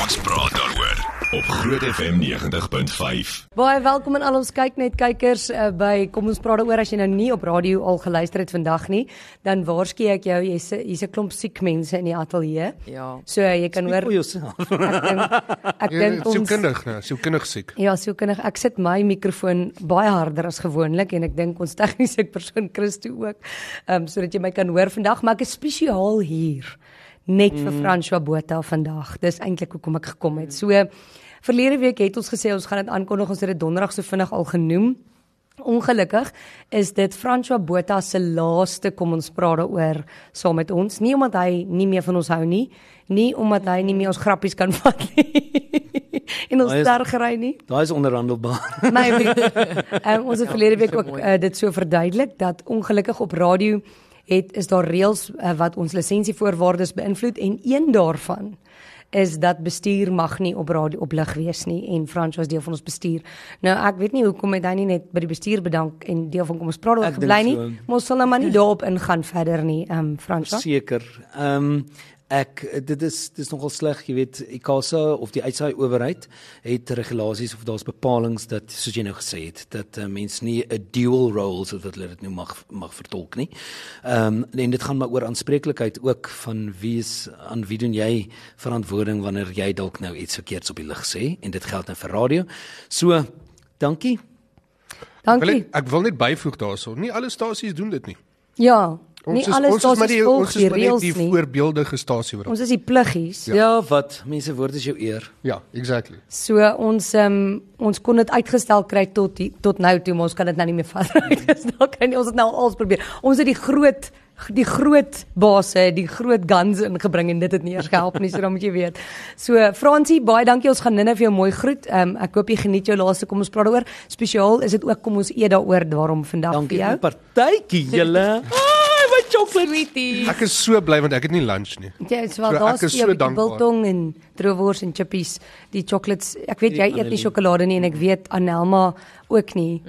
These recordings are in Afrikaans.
Ons praat daaroor op Groot FM 90.5. Baie welkom aan al ons kyk net kykers uh, by kom ons praat daaroor as jy nou nie op radio al geluister het vandag nie, dan waarsku ek jou jy's jy's 'n klomp siek mense in die ateljee. Ja. So uh, jy kan hoor vir jouself. ek dink ek dink ons sielkundig nou, sielkundig siek. Ja, sielkundig. Ek sit my mikrofoon baie harder as gewoonlik en ek dink ons tegniese persoon Christo ook, ehm um, sodat jy my kan hoor vandag, maar ek is spesiaal hier net vir Mm. François Botha vandag. Dis eintlik hoekom ek gekom het. So verlede week het ons gesê ons gaan dit aankondig. Ons het dit donderdag so vinnig al genoem. Ongelukkig is dit François Botha se laaste kom ons praat daaroor saam met ons. Nie omdat hy nie meer van ons hou nie, nie omdat hy nie meer ons grappies kan vat nie. en ons Hy is- tergery nie. Daai is onderhandelbaar. Maybe. Ja, um, ons het verlede week ook uh, dit so verduidelik dat ongelukkig op radio het is daar reëls uh, wat ons lisensievoorwaardes beïnvloed en een daarvan is dat bestuur mag nie op radio op lig wees nie en Frans was deel van ons bestuur. Nou ek weet nie hoekom het hy nie net by die bestuur bedank en deel van kom ons praat Ek oor dink gebly nie. so. Maar ons sal nou Ja. maar nie daarop ingaan verder nie, ehm um, Frans. Seker. Ehm ek dit is dis nogal sleg, jy weet, ICASA of die uitsaai owerheid het regulasies of daar's bepalinge dat soos jy nou gesê het dat uh, mens nie 'n dual role soos wat hulle dit nou mag mag vertolk nie. Ehm um, en dit gaan maar oor aanspreeklikheid ook van wie is aan wie doen jy verantwoording wanneer jy dalk nou iets verkeerds op die lig sê en dit geld nou vir radio. So, dankie. Wil Dankie. ek, ek wil net byvoeg daarso. Nie alle stasies doen dit nie. Ja. Ons nie alles ons is daar's maar die volg ons die is maar net reëls die nie. voorbeeldige stasie wat. Ons is die pluggies. Ja, ja wat? Mense woord is jou eer. Ja, exactly. So ons um, ons kon dit uitgestel kry tot die, tot nou toe, maar ons kan dit nou nie meer verder uitgestel kry nie. Ons het nou alles probeer. Ons het die groot die groot base, die groot guns ingebring en dit het nie eers gehelp nie, so dan moet jy weet. So Fransie, baie dankie. Ons gaan Ninne vir jou mooi groet. Ehm um, ek hoop jy geniet jou laaste kom ons praat daaroor. Spesiaal is dit ook kom ons eet daaroor daarom vandag Dankie vir jou. vir partytjie julle. Ai, wat chocolate. Ek is so bly want ek het nie lunch nie. Ja, so So, daar's ek is so so 'n bietjie dankbaar. biltong en droewors en chippies, die chocolates. Ek weet jy eet nie Annelie. sjokolade nie en ek weet Anelma ook nie.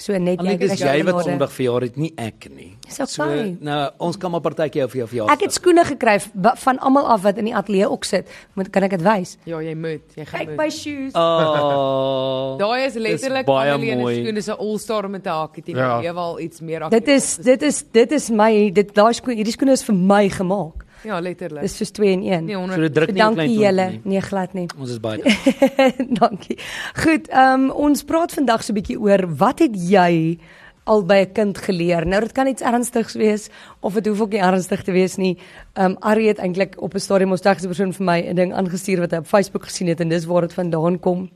So net Alleen eet dis Hmm. jy wat sjokolade. Sondag verjaar het, nie ek nie. Dis oké. nou ons kan maar partytjie hou vir jou verjaardag. Ek het skoene gekry v- ba- van almal af wat in die ateljee ook sit. Moet kan ek dit wys? Ja, jy moet, jy gaan Kyk moet. my shoes. Ah. Oh. Ja. Daai is letterlik baie Annelien se mooi. skoen, dis 'n all-star met 'n hakkie teen Ja. ja. lewe al iets meer. Dit is dit is dit is my dit daai skoene hierdie skoene is vir my gemaak. ja, letterlik. Dis soos 2 in 1. nee, So dit 100. druk nie 'n klein Dankie toontjie julle. nie. Nee, glad nie. Ons is baie dankie. Dankie. Goed, ehm um, ons praat vandag so 'n bietjie oor wat het jy al by 'n kind geleer? Nou dit kan iets ernstigs wees of dit hoef ook nie ernstig te wees nie. Ehm um, Ari het eintlik op 'n stadium ons tegniese persoon vir my 'n ding aangestuur wat hy op Facebook gesien het en dis waar dit vandaan kom.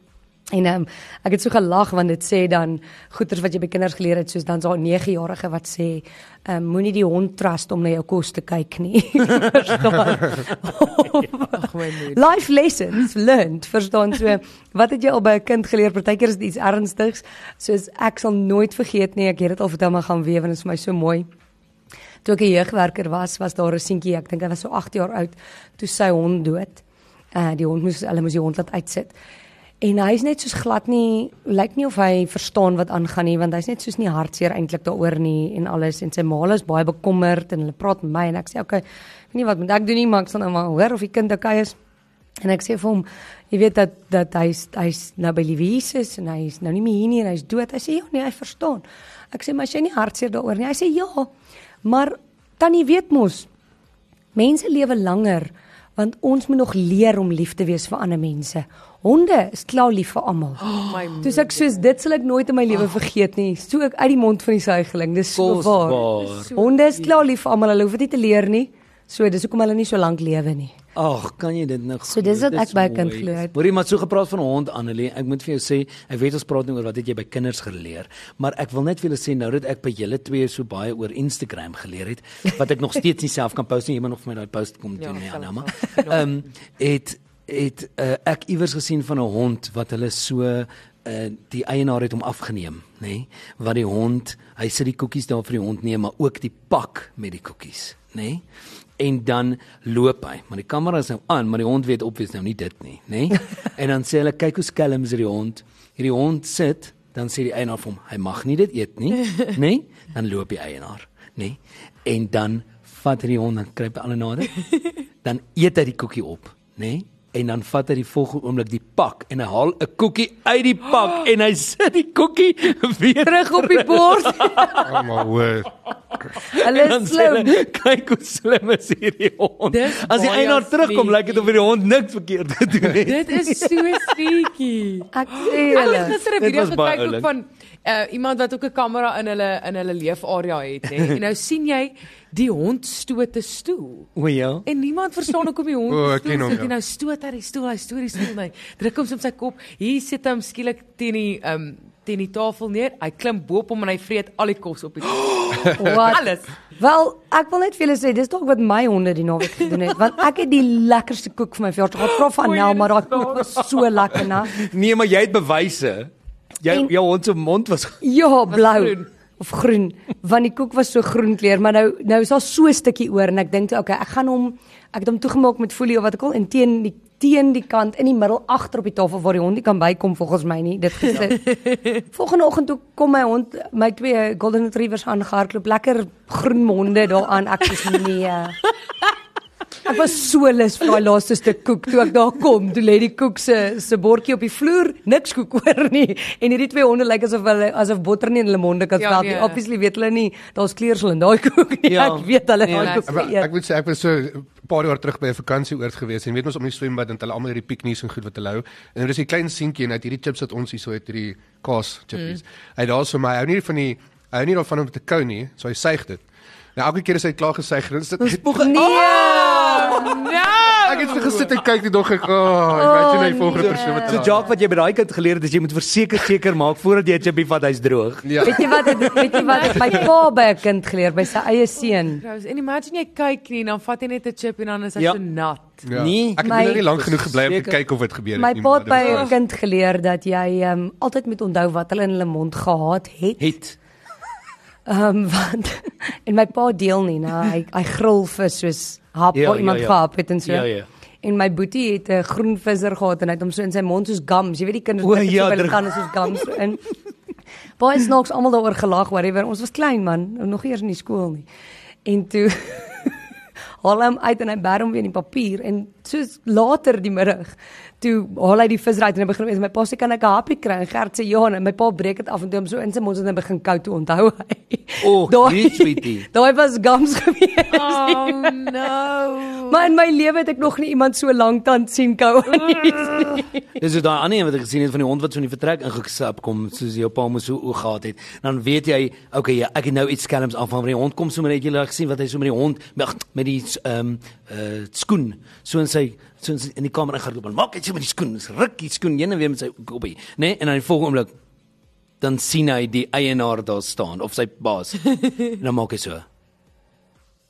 En um, ek het so gelag want dit sê dan goeters wat jy by kinders geleer het soos dan so 'n 9-jarige wat sê um, moenie die hond trust om na jou kos te kyk nie. Verstaan? Of- my moed. Life lessons learned, verstaan so. Wat het jy al by 'n kind geleer? Partykeer is dit iets ernstigs, soos ek sal nooit vergeet nie. Ek het dit al vertel maar gaan weer want dit is vir my so mooi. Toe ek 'n jeugwerker was, was daar 'n seentjie, ek dink hy was so 8 jaar oud, toe sy hond dood. Uh die hond moes hulle moes die hond laat uitsit. En hy's net soos glad nie, lyk nie of hy verstaan wat aangaan nie, want hy's net soos nie hartseer eintlik daaroor nie en alles en sy ma is baie bekommerd en hulle praat met my en ek sê okay, ek weet nie wat moet ek doen nie, maar ek sal nou maar hoor of die kind okay is. En ek sê vir hom, jy weet dat dat hy's hy's nou by Louise is en hy's nou nie meer hier nie en hy's dood. Hy sê ja, nee, hy verstaan. Ek sê maar as jy nie hartseer daaroor nie. Hy sê ja. Maar tannie weet mos, mense lewe langer want ons moet nog leer om lief te wees vir ander mense. Honde is klaar lief vir almal. Oh, my moed. Dis ek soos dit sal ek nooit in my lewe vergeet nie. So ek uit die mond van die suigeling. Dis so waar. Kosbaar. Honde is klaar lief vir almal. Hulle hoef dit nie te leer nie. So dis hoekom hulle nie so lank lewe nie. Ag, kan jy dit nou So dis wat ek by 'n kind geleer het. het. Hoorie, maar so gepraat van 'n hond Annelie, ek moet vir jou sê, ek weet ons praat nou oor wat het jy by kinders geleer, maar ek wil net vir julle sê nou dat ek by julle twee so baie oor Instagram geleer het, wat ek nog steeds nie self kan post nie, iemand nog vir my daai post kom Ja, doen nie, sal Anna, ek maar sal. ehm het het uh, ek iewers gesien van 'n hond wat hulle so uh, die eienaar het hom afgeneem, nê? Nee? Wat die hond, hy sit die koekies daar vir die hond neem, maar ook die pak met die koekies, nê? Nee? En dan loop hy, maar die kamera is nou aan, maar die hond weet obvious nou nie dit nie, nê? Nee? en dan sê hulle kyk hoe skelm is hierdie hond. Hierdie hond sit, dan sê die eienaar vir hom, hy mag nie dit eet nie, nê? Nee? Dan loop die eienaar, nê? Nee? En dan vat hy die hond en kruip alle nader. dan eet hy die koekie op, nê? Nee? en dan vat hy die volgende oomblik die pak en hy haal 'n koekie uit die pak en hy sit die koekie weer Terug op die bord. Oh, maar hoor. Hulle Dan is sê slim. hulle, Kyk hoe slim is hierdie hond. Dis As die baie eienaar terugkom, sneaky. lyk dit of hierdie hond niks verkeerd gedoen het. Dit is so sneaky. Ek sê Ek julle. het gister 'n Dit video was baie gekyk ook oulik. van uh, iemand wat ook 'n kamera in hulle in hulle leefarea het, hè. En nou sien jy die hond stoot 'n stoel. O ja. En niemand verstaan hoekom die hond O, die ek ken stoel hom, sit ja. en nou stoot hy die stoel, hy stoot die stoel net. Druk hom soms sy kop. Hier sit hom skielik teen die ehm um, teen die tafel neer. Hy klim bo op hom en hy vreet al die kos op die tafel. Wat? Alles. Wel, ek wil net vir julle sê, dis dalk wat my honde die naweek gedoen het, want ek het die lekkerste koek vir my verjaarsdag gehad. Vra van Oei, Nel, maar daai dit is koek was so lekker, né? Nee, maar jy het bewyse. Jy En- jou hond se mond was Ja, blou groen. of groen, want die koek was so groen kleur, maar nou nou is daar so 'n stukkie oor en ek dink toe, okay, ek gaan hom ek het hom toegemaak met folie of wat ook al en teen die teen die kant in die middel agter op die tafel waar die hond nie kan bykom volgens my nie, dit Ja. gesit. Volgende oggend toe kom my hond, my twee golden retrievers aangehardloop, lekker groen monde daaraan. Ek sê nee. Ek was so lus vir daai laaste stuk koek toe ek daar kom. Toe lê die koek se se bordjie op die vloer, niks koek oor nie. En hierdie twee honde lyk asof hulle asof botter nie in hulle monde kan Ja, stap nie. nee. Obviously weet hulle nie daar's kleursel in daai koek nie. Ja, Ja. ek weet hulle Nee, gaan nee. koek Maar eet. ek moet sê ek was so 'n paar jaar terug by 'n vakansieoord gewees en weet ons om die swembad en hulle almal hierdie piknies en goed wat hulle hou. En daar is 'n klein seentjie en hy het hierdie chips wat ons hier so het hierdie kaas chippies. Mm. Hy het daarso maar hy hou nie van die hy hou nie daarvan om te kou nie, so hy suig dit. Nou elke keer as hy klaar gesuig het, is dit Nee. No! Ek het so gesit en kyk die dog ek, "Oh, imagine hy volgende persoon wat So Jacques wat jy by daai kind geleer het, is jy moet verseker seker maak voordat jy 'n chippie vat hy's droog. Ja. Weet jy wat het, weet jy wat het my pa by 'n kind geleer by sy eie seun. Rose, en imagine jy kyk nie, dan vat jy net 'n chip en dan is hy Ja. so nat. Ja. Nee. ek het My- nou nie lank genoeg gebly om te Seker. kyk of dit gebeur het My nie, pa maar het by dit 'n was- kind geleer dat jy um, altyd moet onthou wat hulle in hulle mond gehad het. Het. Ehm um, want en my pa deel nie, nou hy hy gril vir soos hap Ja, ja, ja, iemand ja, ja. ja. gehap het en so. Ja, ja. En my boetie het 'n groen visser gehad en hy het hom so in sy mond soos gums, jy weet die kinders O, druk dit so ja, by hulle druk- kan soos gums so in. Baie snaaks almal daaroor gelag, whatever. Ons was klein man, nog eers in die skool nie. En toe haal hom uit en hy bær hom weer in die papier en soos later die middag toe haal hy die vis uit en hy begin en my pa sê kan ek 'n happie kry en Gert sê ja en my pa breek dit af en toe hom so in sy mond en hy begin koud toe onthou hy. O, Daai- nee, sweetie. Daai was gums gewees. Oh no. Maar in my lewe het ek nog nie iemand so lank tand sien kou nie. Dis so daai ander een wat ek gesien het van die hond wat so in die vertrek ingesap kom, soos jou pa mos so oog gehad het. Dan weet jy, okay, ja, ek het nou iets skelms aan van die hond kom sommer net jy het gesien wat hy so met die hond met, met die ehm uh skoen so in sy so in, sy, in die kamer ingeloop en maak iets met die skoen, Dis ruk die skoen heen en weer met sy koppie, né? Nee? En dan die volgende oomblik dan sien hy die eienaar daar staan of sy baas. en dan maak hy so.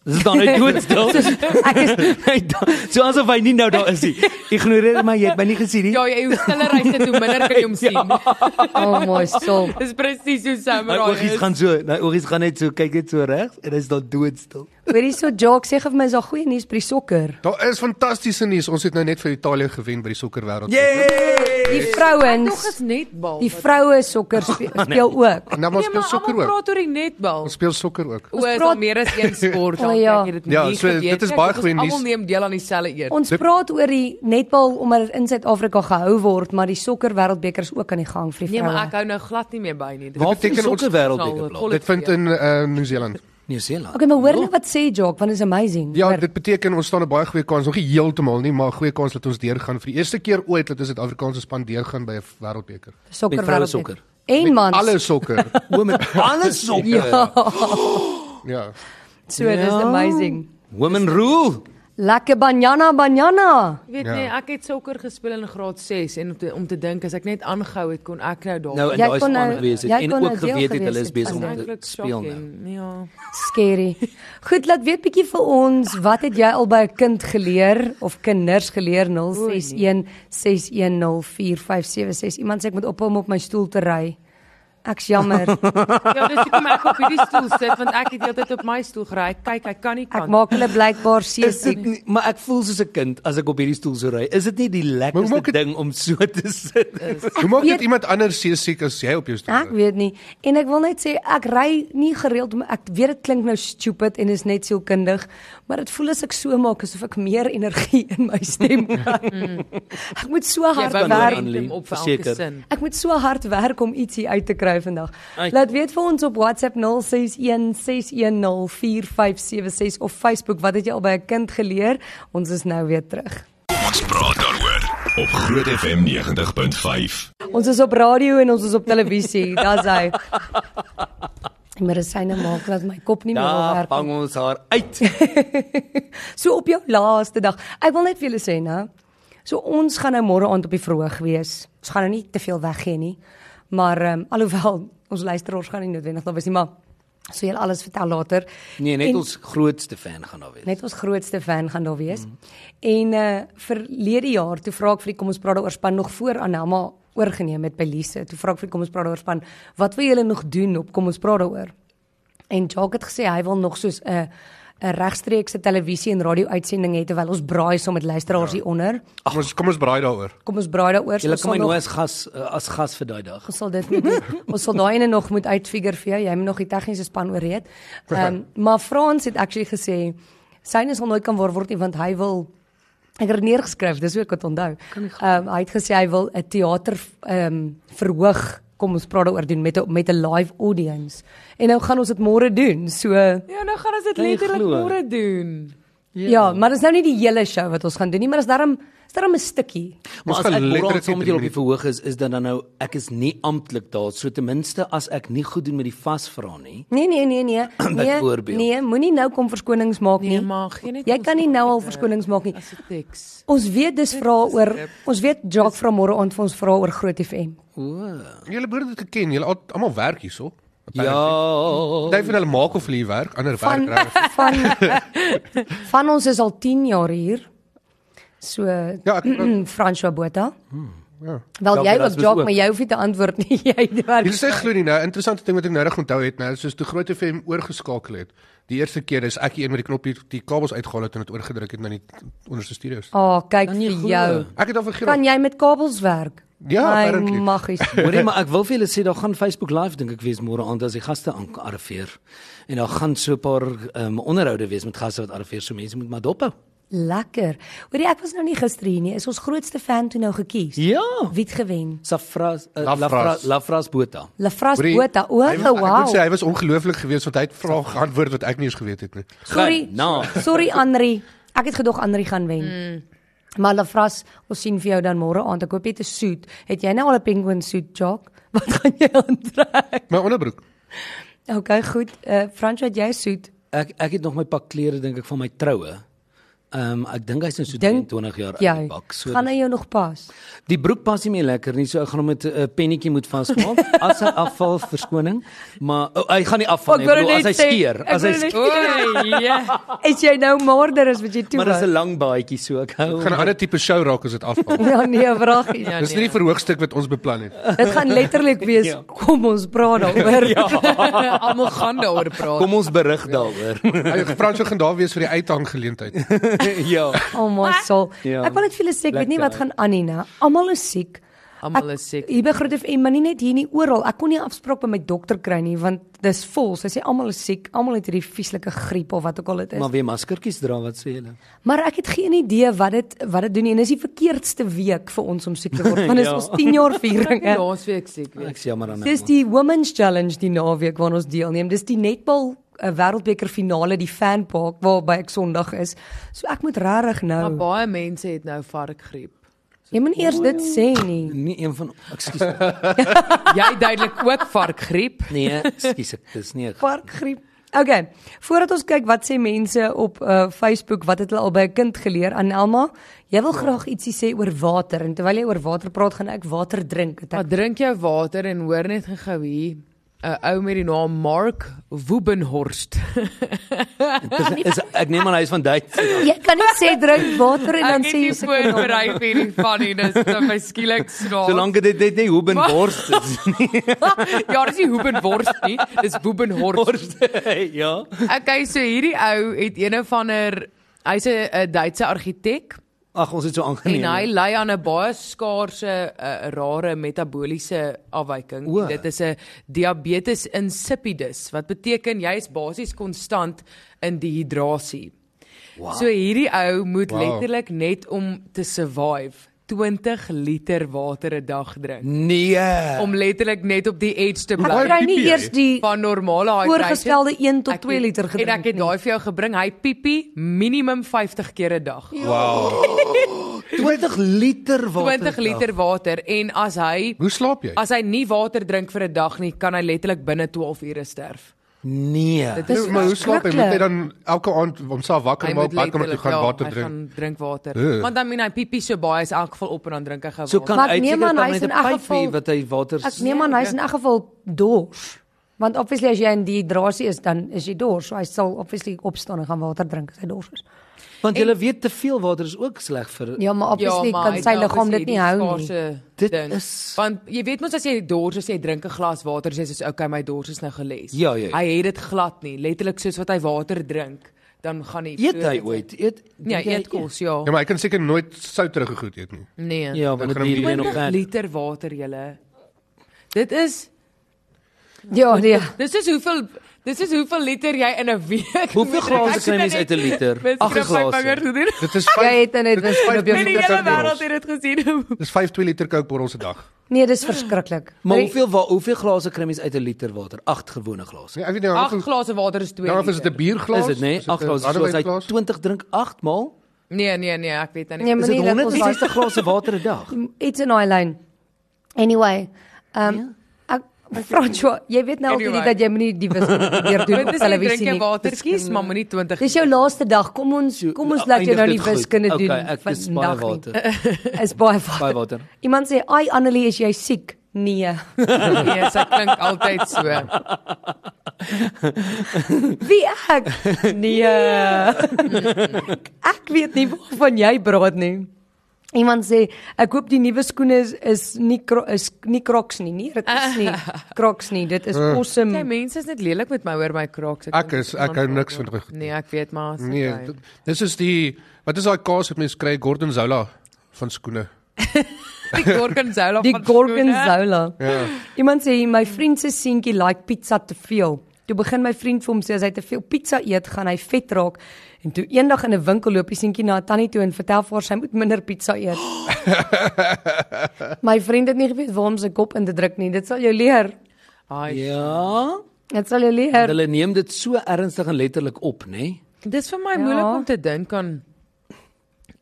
Dis dan hy dood stil. Ek is Hy da- so asof hy nie nou daar is nie. Ignoreer my, jy het my nie gesien nie. Ja, jy hoe stiller hy sit, hoe minder kan jy hom sien. oh my soul. Dis presies hoe My samurai oogies is. Nou, gaan so, my oogies gaan net so kyk net so regs en hy's dan doodstil. Hoorie so Jock sê gee vir my is daar goeie nuus by die sokker. Daar is fantastiese nuus. Ons het nou net vir Italië gewen by die sokkerwêreld. Yay! Die Nog vrouens, eens netbal. die vroue sokker speel, Nee. speel ook. En nou maar ons speel sokker ook. Nee, praat oor die netbal. Ons speel sokker ook. O, is praat- al meer as een sport. O, dan ja. kyk jy dit Ja, nie so, geweet dit is nie. baie Ek dink goeie ons nuus. Almal neem deel aan dieselfde een. Ons praat oor die netbal omdat dit in Suid-Afrika gehou word, maar die sokker wêreldbeker is ook aan die gang vir die Nee, maar ek vroue. hou nou glad nie meer by nie. Dit Waar beteken beteken ons ons- wêreldbeker plaas? Dit ja. vind in uh, Nieu-Seeland. Nieu-Seeland. Okay, maar hoor net wat sê Jock, want dit is amazing. Ja, Hoor. dit beteken ons staan 'n baie goeie kans, nog nie heeltemal nie, maar 'n goeie kans dat ons deurgaan vir die eerste keer ooit dat ons Suid-Afrikaanse span deurgaan by 'n wêreldbeker. sokker met vroue wêreldbeker. sokker. En Met mans. Alle sokker. Women alles sokker. ja. So, dis Ja. amazing. Women rule. Lekker banana banana. Jy weet nie, ek het sokker gespeel in graad 6 en om te, om te dink as ek net aangehou het kon ek nou daar. Nou en Jy daai kon span nou- gewees jy het en kon nou ook deel geweet het gewees hulle is het besig van om Eintlik te speel nou. shocking, Ja. Scary. Goed, laat weet bietjie vir ons, wat het jy al by 'n kind geleer of kinders geleer? 0616104576. Iemand sê ek moet ophou om op my stoel te ry. Ek's jammer. Ja, dis hoekom ek op hierdie stoel sit want ek het die hele tyd op my stoel gery. Kyk, ek kan nie Ek kan. maak hulle blykbaar Is seker. dit nie, maar ek voel soos 'n kind as ek op hierdie stoel so ry. Is dit nie die lekkerste maak het- ding om so te sit? Hoe maak weet- dit iemand anders seesiek as jy op jou Ek stoel? weet nie. En ek wil net sê ek ry nie gereeld maar ek weet dit klink nou stupid en is net sielkundig, maar dit voel as ek so maak asof ek meer energie in my stem kry. ek moet so jy hard bou werk, nou werk. momentum op vir verseker. elke sin. Ek moet so hard werk om ietsie uit te kry vandag. Uit. Laat weet vir ons op WhatsApp 0616104576 of Facebook wat het jy al by 'n kind geleer? Ons is nou weer terug. Ons praat daaroor op Groot FM 90.5. Ons is op radio en ons is op televisie. Daar's hy. Die medisyne maak dat my kop nie meer wil Daar werk. vang nie. ons haar uit. So op jou laaste dag. Ek wil net vir julle sê, né? So ons gaan nou môre aand op die verhoog wees. Ons gaan nou nie te veel weggee nie. Maar ehm um, alhoewel ons luisteraars gaan nie noodwendig daar wees nie, maar so julle alles vertel later. Nee, net En- Nee, ons grootste fan gaan daar wees. Net ons grootste fan gaan daar wees. Mm. En uh verlede jaar toe vra ek vir die kom ons praat daaroor span nog voor Anelma oorgeneem het by Lise. Toe vra ek vir die kom ons praat daaroor span, wat wil julle nog doen op kom ons praat daaroor? En Jacques het gesê hy wil nog soos 'n 'n regstreekse televisie en radio uitsending hê terwyl ons braai saam met luisteraars ja. hieronder. Kom ons kom ons braai daaroor. Kom ons braai daaroor. so Jy ons kan my sal nog- nooi as gas eh, as gas vir daai dag. Ons sal dit moet doen. Ons sal daai ene nog moet uitfigure vir jou. Jy moet nog die tegniese span oorreed. Ehm um, maar Frans het actually gesê syne sal nooit kan waar word nie want hy wil ek het dit neergeskryf, dis hoe ek dit onthou. Ehm um, hy het gesê hy wil 'n teater ehm um, verhoog kom ons praat daaroor doen met 'n met 'n live audience. En nou gaan ons dit môre doen. So Ja, nou gaan ons dit Kan jy letterlik glo? môre doen. ja, ja maar dis nou nie die hele show wat ons gaan doen nie, maar dis daarom is daarom 'n stukkie. Maar Ons as gaan ek letterlik letterlik saam met drie julle op die verhoog is, is dan dan nou ek is nie amptelik daar, so ten minste as ek nie goed doen met die vasvra nie. Nee nee nee nee. Nee, Byvoorbeeld. nee moenie nou kom verskonings maak nie. Nee, maar gee net Jy ons kan nie nou al woorde verskonings maak nie. As 'n teks. Ons weet dis vra oor ons weet Jock vra môre aand vir ons vra oor Groot FM. O. Julle behoort dit geken. Julle al- almal werk hierso. Ja. Party van hulle maak of hulle hier werk, ander Van werk reg. van van ons is al 10 jaar hier. So Ja, ek François Botha. ja. Wel Jock jy Erasmus ook Jock, ook. maar jy hoef nie te antwoord nie. Jy werk. Hier sê glo nie nou, interessante ding wat ek nou reg onthou het nou, soos toe Groot FM oorgeskakel het. Die eerste keer is ek die een met die knoppie die kabels uitgehaal het en dit oorgedruk het na die onderste studio's. O, oh, kyk Kan jy vir glo? jou. Ek het al vergeet. Kan jy met kabels werk? Ja, apparently. Magies. Hoorie maar ek wil vir julle sê daar gaan Facebook live dink ek wees môre aand as die gaste aan arriveer. En daar gaan so 'n paar um, onderhoude wees met gaste wat arriveer, so mense moet maar dophou. Lekker. Hoorie, ek was nou nie gister hier nie. Is ons grootste fan toe nou gekies? Ja. Wie het gewen? Safras uh, Lafras. Lafras Lafras Botha. Lafras Hoorie, Botha. O, oh, hy was- Ek wow. moet sê hy was ongelooflik geweest want hy het vrae geantwoord wat ek nie eens geweet het nie. Sorry. Nou. Sorry Andri. Ek het gedog Andri gaan wen. Mm. Maar Lafras, ons sien vir jou dan môre aand. Ek hoop jy het 'n soet. Het jy nou al 'n penguin soet, Jock? Wat gaan jy aantrek? My onderbroek. Okay, goed. Eh uh, Frans, wat jy soet? Ek ek het nog my pak klere dink ek van my troue. Ehm um, ek dink hy's nou so Dink 23 jaar oud Jy. die pak. So Gaan hy jou nog pas? die broek pas nie meer lekker nie, so ek gaan hom met 'n uh, pennetjie moet vasmaak. as hy afval, verskoning, maar oh, hy gaan nie afval Ek nie. wou ek bedoel, net As hy sê, skeer, ek as hy wou net- skeer, O, ja. Is jy nou moorder as wat jy toe maar dis was? 'n lang baadjie so ek hou. Gaan 'n ander tipe show raak as dit afval. Ja nee, vragies. Ja, Dis nie die verhoogstuk wat ons beplan het. Dit gaan letterlik wees. Ja. Kom ons praat daaroor. Almal gaan daaroor praat. Kom ons berig daaroor. Hy Fransjo gaan daar wees vir die uithang geleentheid. ja. Oh my soul. Ja. Ek wil net vir julle sê ek weet nie wat Lekker. gaan aan nie, né? Almal is siek. Almal Ek- is siek. Hier by Groot FM, maar nie net hier nie, oral. Ek kon nie 'n afspraak by my dokter kry nie want dis vol. Sy sê almal is siek, almal het hierdie vieslike griep of wat ook al dit is. Maar Maar, weer maskertjies dra, wat sê julle? maar ek het geen idee wat dit wat dit doen nie en dis die verkeerdste week vir ons om siek te word. Want dis Ja. ons 10 jaar viering. hè? Laas week siek weer. Ek sê jammer aan Dis die Women's Challenge die naweek waaraan ons deelneem. Dis die netbal 'n wêreldbeker finale die Fanpark waarby ek Sondag is. So ek moet regtig Maar nou. baie mense het nou varkgriep. Jy moet nie eers dit sê nie. nie een van ekskuus. Jy duidelik ook varkgriep. Nee, ekskuus ek dis nie. ek- Varkgriep. Okay. Voordat ons kyk wat sê mense op uh, Facebook, wat het hulle al by 'n kind geleer? Anelma, jy wil graag ietsie sê oor water en terwyl jy oor water praat, gaan ek water drink. het Ek, Maar drink jou water en hoor net gou hier. 'n ou met die naam Mark Woobenhorst. Dis is ek neem aan hy is van Duits. Jy kan nie sê drink water en dan ek het sê jy nie se voorberei vir hierdie funny, dis dan my skielik snaaks. Solank dit net nie Hubenborst is. ja, dis nie Woobenhorst nie, dis Woobenhorst. ja. Okay, so hierdie ou het een van 'n hy's 'n 'n Duitse argitek Ag, ons het so en aangeneem. hy ly aan 'n baie skaarse uh, rare metabooliese afwyking. O. Dit is 'n diabetes insipidus wat beteken jy is basies konstant in dehydrasie. Wow. So hierdie ou moet Wow. wow. letterlik net om te survive 20 liter water 'n dag drink Nee. om letterlik net op die edge te Ek bly kry nie piepie, eers die van normale high voorgestelde 1 tot Ek 2 het- liter gedrink. nee. En ek het daai vir jou gebring. Hy piepie minimum 50 keer 'n dag. Ja. Wow. 20 liter water. 20 liter water en as hy Hoe slaap jy? as hy nie water drink vir 'n dag nie, kan hy letterlik binne 12 ure sterf. Nee. Dit Hoe- is Maar hoe slaap hy? Moet hy verskriklik. dan elke aand homself wakker maak, badkamer toe letterlik- gaan ja, water hy drink? gaan drink water. Ugh. Want dan min hy piepie so baie is in elk geval op en dan drink hy gou So water. kan Maar ek uit neem seker aan dan hy is met 'n in elk pypie geval- wat hy water Ek neem aan hy's in elk geval dors. Want obviously as jy in dehydrasie is, dan is jy dors. So hy sal obviously opstaan en gaan water drink as hy dors is. want jy weet te veel water is ook sleg vir Ja, maar obviously ja, maar maar kan hy sy dink liggaam is dit nie hou hierdie nie. skaarse Dit ding. is- want jy weet mos as jy dors is, jy drink 'n glas water, sê soos okay, my dors is nou geles. Ja, ja, ja. Hy het dit glad nie, letterlik soos wat hy water drink, dan gaan hy Eet hy ooit? Eet Ja, Dink jy hy eet kos, ja. Ja, maar hy kan seker nooit souterige goed eet nie. Nee. Ja, want Dan gaan dit hy hier nog 20 gaan. liter water julle. Dit is Ja, nee. dis is hoeveel dis is hoeveel liter jy in 'n week Hoeveel moet drink. glase Ek kry sien mens uit dit 'n liter? net- Ag, Ja, mens knip my glase. vingers toe doen. Dit is Jy vyf- het nou net dit is wiskunde op jou In die Dit hele kan wêreld bottels. het dit gesien. Dis 5 2 liter kookborrels 'n dag. Nee, dis verskriklik. Maar Drie- hoeveel wa- hoeveel glase kry mens uit 'n liter water? 8 gewone glase. Nee, ek weet nie Ag, hoeveel glase water is 2. Nou of is dit 'n bierglas? Is dit nê? Is 8 'n glase. So as hy arbeidglas? 20 drink 8 maal, Nee, nee, nee, ek weet dit nie. Nee, is maar dit nie dat ons 160 glase water 'n dag. iets in daai lyn. Anyway, ehm um, ek Francois, jy weet nou altyd Ja. Anyway. dat jy moenie die wiskunde weer doen op Dit is jy drink televisie jy nie. water skies, maar moenie 20 Dis jou laaste dag. Kom ons kom ons laat jou Eindig nou dit nie goed. wiskunde doen Okay, ek dis baie vandag nie. water. Is baie water. Baie water. Iemand sê, "Ai Annelie, is jy siek?" Nee. Nee, sy klink altyd so. Wie ek? Nee. ek weet nie waarvan jy praat nie. Iemand sê, "Ek koop die nuwe skoene is, is nie kro, is nie Crocs nie." Nee, dit is nie Crocs nie. Dit is Jy awesome. Nee, mense is net lelik met my oor my kraaks. Ek is ek hou niks van goed. Nee, ek weet maar. Nee, dit- dis is die wat is daai kaas wat mense kry Gorgonzola van skoene. die Gorgonzola Die van Gorgonzola. Ja. Iemand sê, "My vriend se seentjie like pizza te veel." Toe begin my vriend vir hom sê as hy te veel pizza eet, gaan hy vet raak. En toe eendag in 'n winkel loop die seentjie na 'n tannie toe en vertel vir haar sy moet minder pizza eet. my vriend het nie geweet waar om sy kop in te druk nie. Dit sal jou leer. Ai. Ja. Dit sal jou en leer. Hulle neem dit so ernstig en letterlik op, nee? nê? Dis vir my Ja. moeilik om te dink aan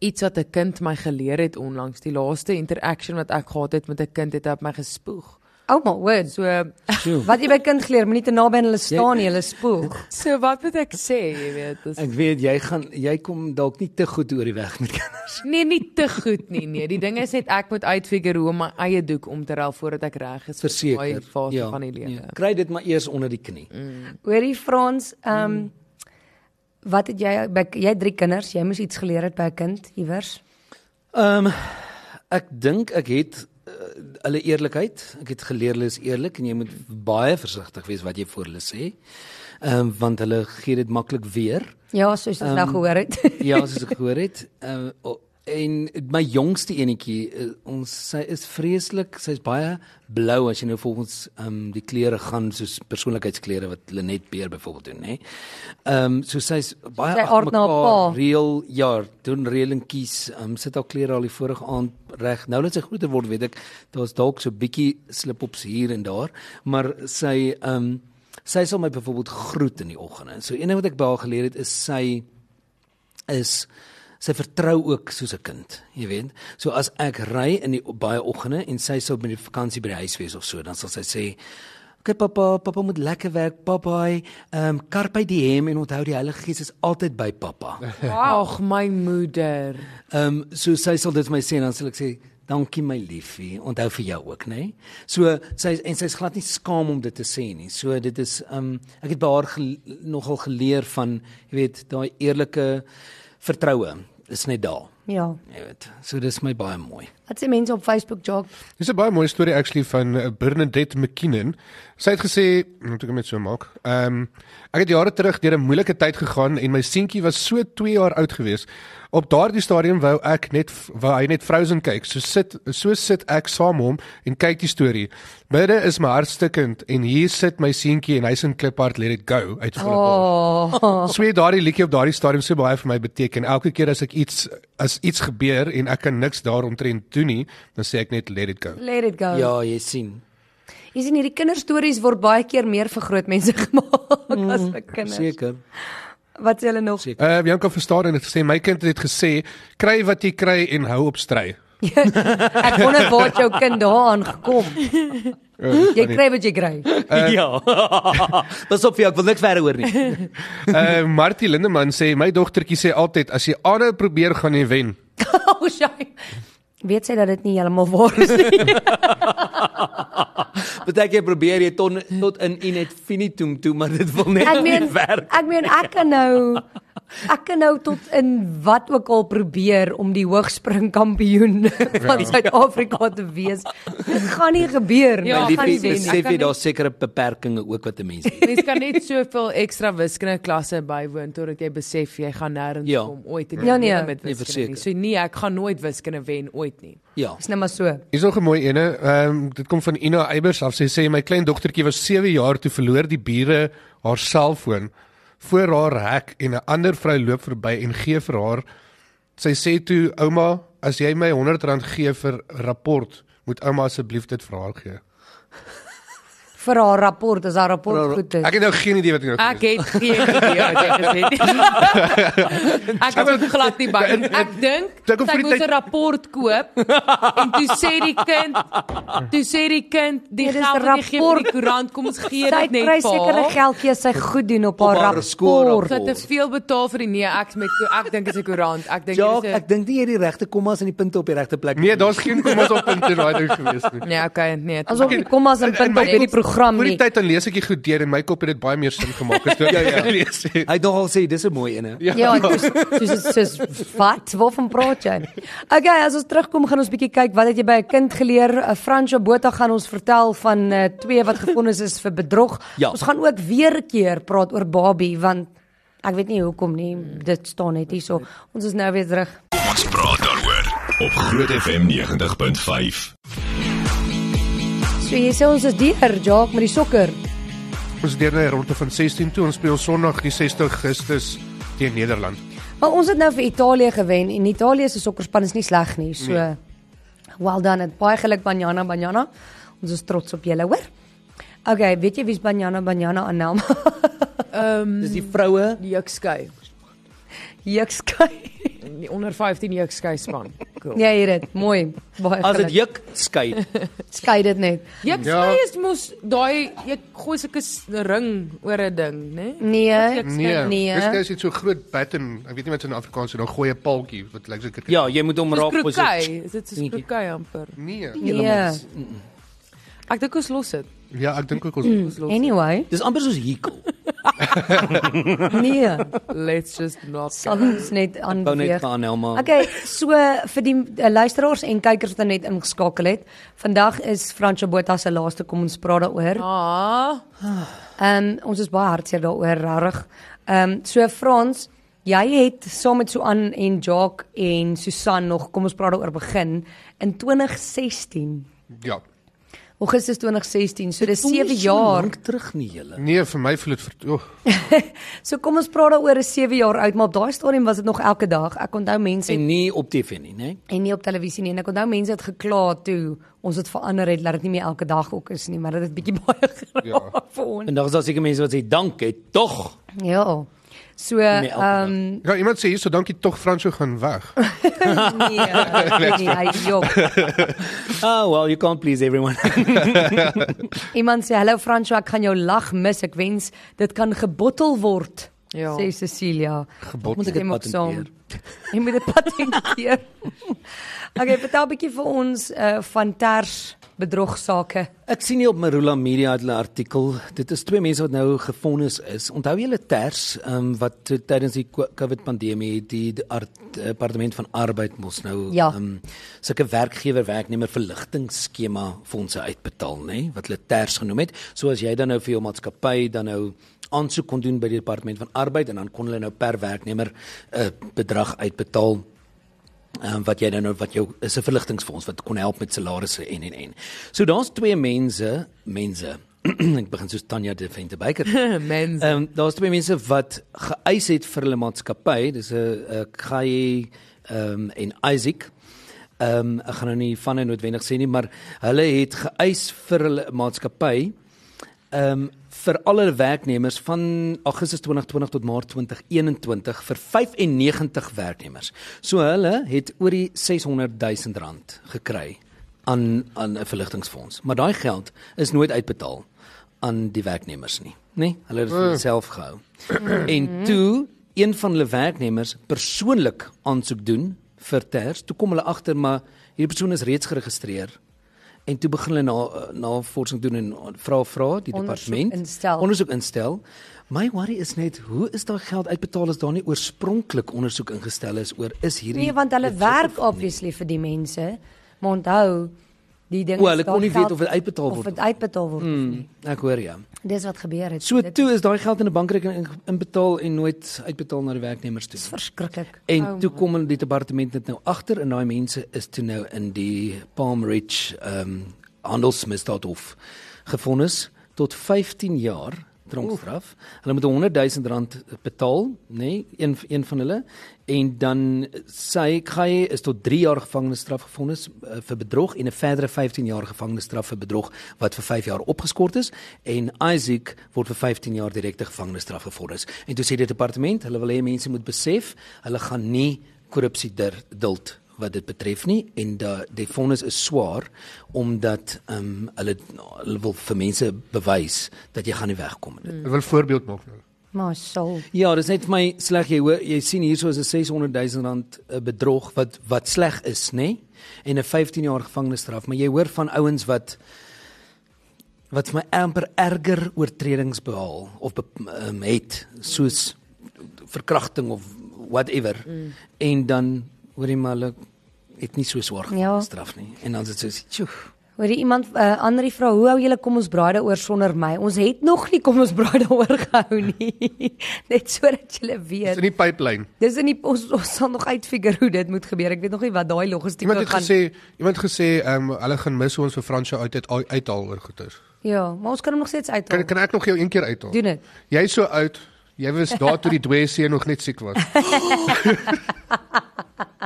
iets wat 'n kind my geleer het onlangs. Die laaste interaction wat ek gehad het met 'n kind het hy op my gespoeg. Ouma, words. So Wat jy by kind geleer, moenie te naby aan hulle staan nie, hulle spoeg. so wat moet ek sê, jy weet, dis Ek weet jy gaan jy kom dalk nie te goed oor die weg met kinders. nee, nie te goed nie. Nee, die ding is net ek moet uitfigure hoe om my eie doek om te ruil voordat ek reg is vir daai Verseker. nee, fase van die lewe. Mm. Ja. Kry dit maar eers onder die knie. Hoorie Frans, ehm um, wat het jy by jy het drie kinders, jy moes iets geleer het by 'n kind iewers. Ehm um, ek dink ek het uh, hulle eerlikheid. Ek het geleer hulle is eerlik en jy moet baie versigtig wees wat jy voor hulle sê. Ehm um, want hulle gee dit maklik weer. Ja, soos jy um, nou Ehm, gehoor het. Ja, soos ek gehoor het. Ehm um, en my jongste enetjie, uh, ons sy is vreeslik, sy's baie blou as jy nou volgens ehm um, die kleure gaan soos persoonlikheidskleure wat Lenet Beer byvoorbeeld doen, nê. Ehm um, so sy's baie Sy aard na haar agtermekaar, pa. reël jaar doen reëlingkies um, sit haar klere al die vorige aand reg nou dat sy groter word weet ek daar's dalk so bietjie slip-ops hier en daar maar sy um, sy sal my byvoorbeeld groet in die oggende so een ding wat ek by haar geleer het is sy is sy vertrou ook soos 'n kind, jy weet. So as ek ry in die baie oggende en sy sou met die vakansie by die huis wees of so, dan sal sy sê Okay pappa, pappa moet lekker werk, pappa. Ehm um, carpe diem en onthou die Heilige Gees is altyd by pappa. Ag my moeder. Ehm um, so sy sal dit vir my sê en dan sal ek sê Dankie my liefie. Onthou vir jou ook, nê? Nee? So sy en sy's glad nie skaam om dit te sê nie. So dit is um ek het by haar gel, nogal geleer van, jy weet, daai eerlike vertroue is net daar. Ja. Jy weet. So dis my baie mooi. Wat sê mense op Facebook job? Dis 'n baie mooi storie actually van eh, Bernadette McKinnon. Sy het gesê, moet ek hom net so maak. Ehm um, ek het jare terug deur 'n moeilike tyd gegaan en my seentjie was so 2 jaar oud gewees. Op daardie stadium wou ek net wou hy net Frozen kyk. So sit so sit ek saam hom en kyk die storie. Midde is my hart stikkend en hier sit my seentjie en hy's in Kliphard Let It Go uit volle bal. Oh. Sweet daardie liedjie op daardie stadium so baie vir my beteken. Elke keer as ek iets as iets gebeur en ek kan niks daaromtrent doen nie, dan sê ek net let it go. Let it Oh. go. Ja, jy sien. Jy sien hierdie kinderstories word baie keer meer vir groot mense gemaak mm, as vir kinders. Seker. Wat sê hulle nog? Seker. Uh Bianca verstaan en het gesê my kind het gesê kry wat jy kry en hou op stry. Ek wonder waar het jou kind daaraan gekom. Ja, Jy kry wat jy kry. Uh, ja. Pas op vir jou, ek wil niks verder hoor nie. Uh Martie Lindeman sê my dogtertjie sê altyd as jy aanhou probeer gaan jy wen. Oh, sy. Weet sy dat dit nie heeltemal waar is nie. Partykeer probeer jy tot tot in in net finitum toe, maar dit wil net Ek nie meen werk. ek meen ek kan nou ek kan nou tot in wat ook al probeer om die hoogspringkampioen Ja. van Suid-Afrika te wees. Dit gaan nie gebeur nie. Ja, Ja, Dit gaan gaan nie nie liefie, wen wees nie. besef Ek kan jy nie- daar sekere beperkings ook wat 'n mens het. Mens kan net soveel ekstra wiskunde klasse bywoon totdat jy besef jy gaan nêrens Ja. ja. kom ooit in Ja, die lewe nee. met Nee, wiskunde. verseker. nie. so nee, ek gaan nooit wiskunde wen ooit nie. Ja. Dis net maar so. Hier's nog 'n mooi ene. Ehm um, dit kom van Ina Eybers af. Sy sê my klein dogtertjie was 7 jaar toe verloor die bure haar selfoon voor haar hek en 'n ander vrou loop verby en gee vir haar. Sy sê toe ouma, as jy my R100 gee vir rapport, moet ouma asseblief dit vir haar gee. Vir haar rapport, as haar rapport goed is. Ek het nou geen idee wat ek nou gedoen Ek het geen idee wat jy gesê het. Ek het ook glad nie by. nie. Ek dink Dink of sy vir die moet 'n tyd- rapport koop en toe sê die kind, toe sê die kind, die Nee, dis geld wat jy gee vir rapport. die koerant, kom ons gee Sy dit net kry vir sekere haar. geldjie as sy goed doen op haar haar skoolrapport. rapport. Sy het te veel betaal vir die nee, ek met ek dink dit is 'n koerant. Ek dink Ja, dit is 'n ek dink nie jy het die regte kommas en die punte op die regte plek. Nee, daar's geen kommas op punt in daai ding gewees nie. Nee, okay, nee. Asof die kommas en In punte my op hierdie kop- program Vir nie. die tyd dan lees ek dit goed deur en my kop het dit baie meer sin gemaak as toe ek dit gelees het. Hy het nogal sê dis 'n mooi ene. Ja, dis dis dis wat waarvan praat jy? Okay, as ons terugkom gaan ons bietjie kyk wat het jy by 'n kind geleer? 'n Fransjo Botha gaan ons vertel van uh, twee wat gefonnis is vir bedrog. Ja. Ons gaan ook weer 'n keer praat oor Barbie want ek weet nie hoekom nie. Dit staan net hierso. Ons is nou weer terug. Ons praat daaroor op Groot FM 90.5. So jy sê ons is deur, Jacques, met die sokker. Ons deur na die ronde van 16 toe. Ons speel Sondag die 60 Augustus teen Nederland. Maar ons het nou vir Italië gewen en Italië se sokkerspan is nie sleg nie. So nee. well done. Het baie geluk Banyana Banyana. Ons is trots op julle, hoor. Okay, weet jy wie's Banyana Banyana Anelma? ehm Dis die vroue. Jukskei. Jukskei. Die onder 15 Jukskei span. Cool. Ja, hier dit. Mooi. Baie As geluk. dit juk, skei. Skei dit net. Jukskei Ja. is mos daai jy gooi sulke s- ring oor 'n ding, né? Nee. Nee. Nee. Dis dis so groot batten. Ek weet nie wat so in Afrikaans is, dan gooi 'n paaltjie wat lyk soos 'n Ja, jy moet hom Dis raak krokei. Is dit so Dankie. krokei amper? Nee. Nee. Ek dink ons los dit. Ja, ek dink ook ons Ons los. dit. Anyway, Dis amper soos hekel. nee. Let's just not. Sal ons net Wou net aanbeweeg. gaan Elma. Okay, so vir die uh, luisteraars en kykers wat nou net ingeskakel het, vandag is Fransjo Botha se laaste kom ons praat daaroor. Ah, Ehm um, ons is baie hartseer daaroor regtig. Ehm um, so Frans, jy het saam met Suan en Jacques en Susan nog kom ons praat daaroor begin in 2016. Ja. Augustus 2016. So dis 7 jaar. Lank terug nie julle. Nee, vir my voel dit ver- oh, So kom ons praat daaroor is 7 jaar oud, maar op daai stadium was dit nog elke dag. Ek onthou mense en, En nie op TV nie, né? en nie op televisie nie. En ek onthou mense het gekla toe ons dit verander het dat dit nie meer elke dag ook is nie, maar dat dit bietjie baie geraak Ja. ja. vir ons. En dan is daar seker mense wat sê dankie tog. Ja. So elke ehm dag. um, Ja, iemand sê hierso, dankie tog Fransjo gaan weg. nee, nee, nee, hy jok. Oh well, you can't please everyone. Iemand sê hallo Fransjo, ek gaan jou lag mis. Ek wens dit kan gebottel word. Ja. Sê Cecilia. Moet ek dit Stem ook saam. patenteer? Jy moet dit patenteer. okay, vertel 'n bietjie vir ons uh, van ters bedrogsake. Ek sien hier op Marula Media het hulle artikel. Dit is twee mense wat nou gefonnis is. Onthou julle Ters, ehm um, wat toe tydens die ko- COVID pandemie die die ar- departement van arbeid mos nou Ja. ehm, sulke werkgewer werknemer verligtingskema fondse uitbetaal, nê, nee? wat hulle Ters genoem het. So as jy dan nou vir jou maatskappy dan nou aansoek kon doen by die departement van arbeid en dan kon hulle nou per werknemer 'n bedrag uitbetaal um, wat jy dan nou wat jou is 'n verligtingfonds wat kon help met salarisse en en en. So daar's twee mense, mense. ek begin soos Tanya de Venter Baker. Mense. Ehm um, daar's twee mense wat geëis het vir hulle maatskappy. Dis 'n uh, Kai ehm um, en Isaac. Ehm um, ek gaan nou nie van hulle noodwendig sê nie, maar hulle het geëis vir hulle maatskappy ehm um, vir al hulle werknemers van Augustus 2020 tot Maart 2021 vir 95 werknemers. So hulle het oor die 600 000 rand gekry aan aan 'n verligtingfonds. Maar daai geld is nooit uitbetaal aan die werknemers nie, nê? Nee? Hulle het dit vir self gehou. en toe een van hulle werknemers persoonlik aansoek doen vir TERS, toe kom hulle agter maar hierdie persoon is reeds geregistreer En toe begin hulle na navorsing doen en vra vra Ondersoek die departement instel. ondersoek instel. My worry is net hoe is daai geld uitbetaal as daar nie oorspronklik ondersoek ingestel is oor is hierdie Nee, want hulle legit werk of nie? obviously vir die mense. Maar onthou, die ding O, is hulle daar kon nie geld- weet of dit uitbetaal Of word dit uitbetaal word of nie. Ek hoor ja. Dis wat gebeur het. So dit toe is daai geld in 'n bankrekening in- inbetaal en nooit uitbetaal na die werknemers toe. is verskriklik. En oh toe kom hulle die departement net nou agter en daai mense is toe nou in die Palm Ridge ehm um, handelsmisdaadhof gefonnis tot 15 jaar tronkstraf. Hulle moet 100 000 rand betaal, nê, nee, een een van hulle en dan sy Khaye is tot 3 jaar gevangenisstraf gefonnis uh, vir bedrog en 'n verdere 15 jaar gevangenisstraf vir bedrog wat vir 5 jaar opgeskort is en Isaac word vir 15 jaar direkte gevangenisstraf gefonnis. En toe sê die departement, hulle wil hê mense moet besef, hulle gaan nie korrupsie dir- duld wat dit betref nie en da die vonnis is swaar omdat ehm um, hulle hulle wil vir mense bewys dat jy gaan nie wegkom nie. Ek wil 'n voorbeeld maak nou. Maar sal Ja, dis net vir my sleg jy hoor, jy sien hierso is 'n 600 000 rand eh, bedrog wat wat sleg is, nê? Nee? En 'n 15 jaar gevangenisstraf, maar jy hoor van ouens wat wat vir my amper erger oortredings behaal of be, um, het soos verkrachting of whatever. Mm. En dan hoor jy maar hulle het nie so swaar Ja. gestraf nie. En dan is dit soos, "Tjoe." Hoorie iemand uh, ander vra hoe hou julle kom ons braai daaroor sonder my? Ons het nog nie kom ons braai daaroor gehou nie. Net sodat julle Dis in weet. die pipeline. Dis in die ons ons sal nog uitfigure hoe dit moet gebeur. Ek weet nog nie wat daai logistiek Iemand het gaan. gesê, iemand gesê, ehm um, hulle gaan mis hoe ons vir Fransjo uit uit uithaal oor goeters. Ja, maar ons kan hom nog steeds Kan uithaal. kan ek nog jou een keer uithaal? Ja. Doen dit. Jy's so oud. Jy was daar toe die dwee seun nog net siek was.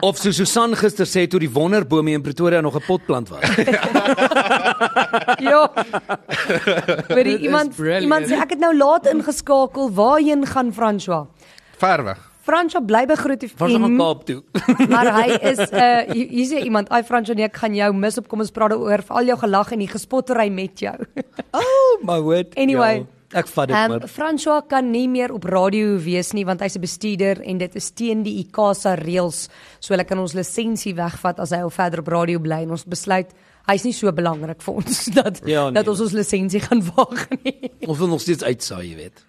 Of so Susan gister sê toe die wonderbome in Pretoria nog 'n potplant was. Ja. Maar Dit is iemand brilliant. iemand sê ek het nou laat ingeskakel. Waarheen gaan François? Ver weg. François bly begroet Van gaan en Kaap toe. maar hy is 'n uh, hier hier sê iemand, "Ai François, nee, ek gaan jou mis op kom ons praat daaroor vir al jou gelag en die gespottery met jou." Oh my word. Anyway. ja, ek vat dit um, Ehm maar. François kan nie meer op radio wees nie want hy's 'n bestuurder en dit is teen die ICASA reëls. So hulle kan ons lisensie wegvat as hy al verder op radio bly en ons besluit hy's nie so belangrik vir ons dat Ja, ja, nee. nee. dat ons ons lisensie gaan waag nie. Ons wil nog steeds uitsaai, jy weet.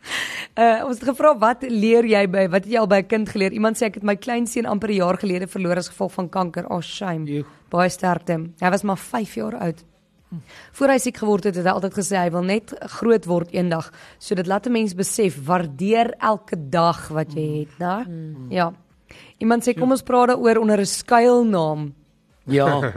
Uh ons het gevra wat leer jy by wat het jy al by 'n kind geleer? Iemand sê ek het my kleinseun amper 'n jaar gelede verloor as gevolg van kanker. Oh shame. Joe. Baie sterkte. Hy was maar 5 jaar oud. Voor hy siek geword het, het hy altyd gesê hy wil net groot word eendag. So dit laat 'n mens besef, waardeer elke dag wat jy het, né? Mm. Ja. Iemand sê kom ons praat daaroor onder 'n skuilnaam. Ja.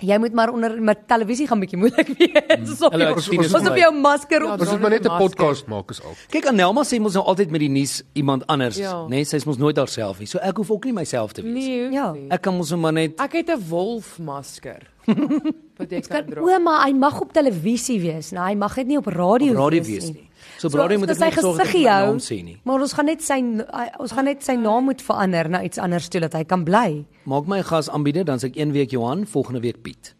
Jy moet maar onder maar televisie gaan bietjie moeilik wees. Ons op Mm. Hallo, jou, ek sien Ja, dis ons op my. jou masker op. Ons moet maar net 'n Masker. podcast maak is al. Kyk, Anelma sê mos nou altyd met die nuus iemand anders, ja. Ja. né? Nee, sy is mos nooit haarself nie. So ek hoef ook nie myself te wees. Nee. Ja. Ja. Ek kan mos nou maar net Ek het 'n wolfmasker. Wat ek kan Kan dra. ouma, hy mag op televisie wees, nee, hy mag dit nie op radio, op radio wees nie. So op radio moet ons ek net kan sy sorg dat ek gesiggie my hou, naam sê nie. Maar ons gaan net sy ons gaan net sy naam moet verander na iets anders toe dat hy kan bly. Maak my gas aanbieder, dan sê ek een week Johan, volgende week Piet.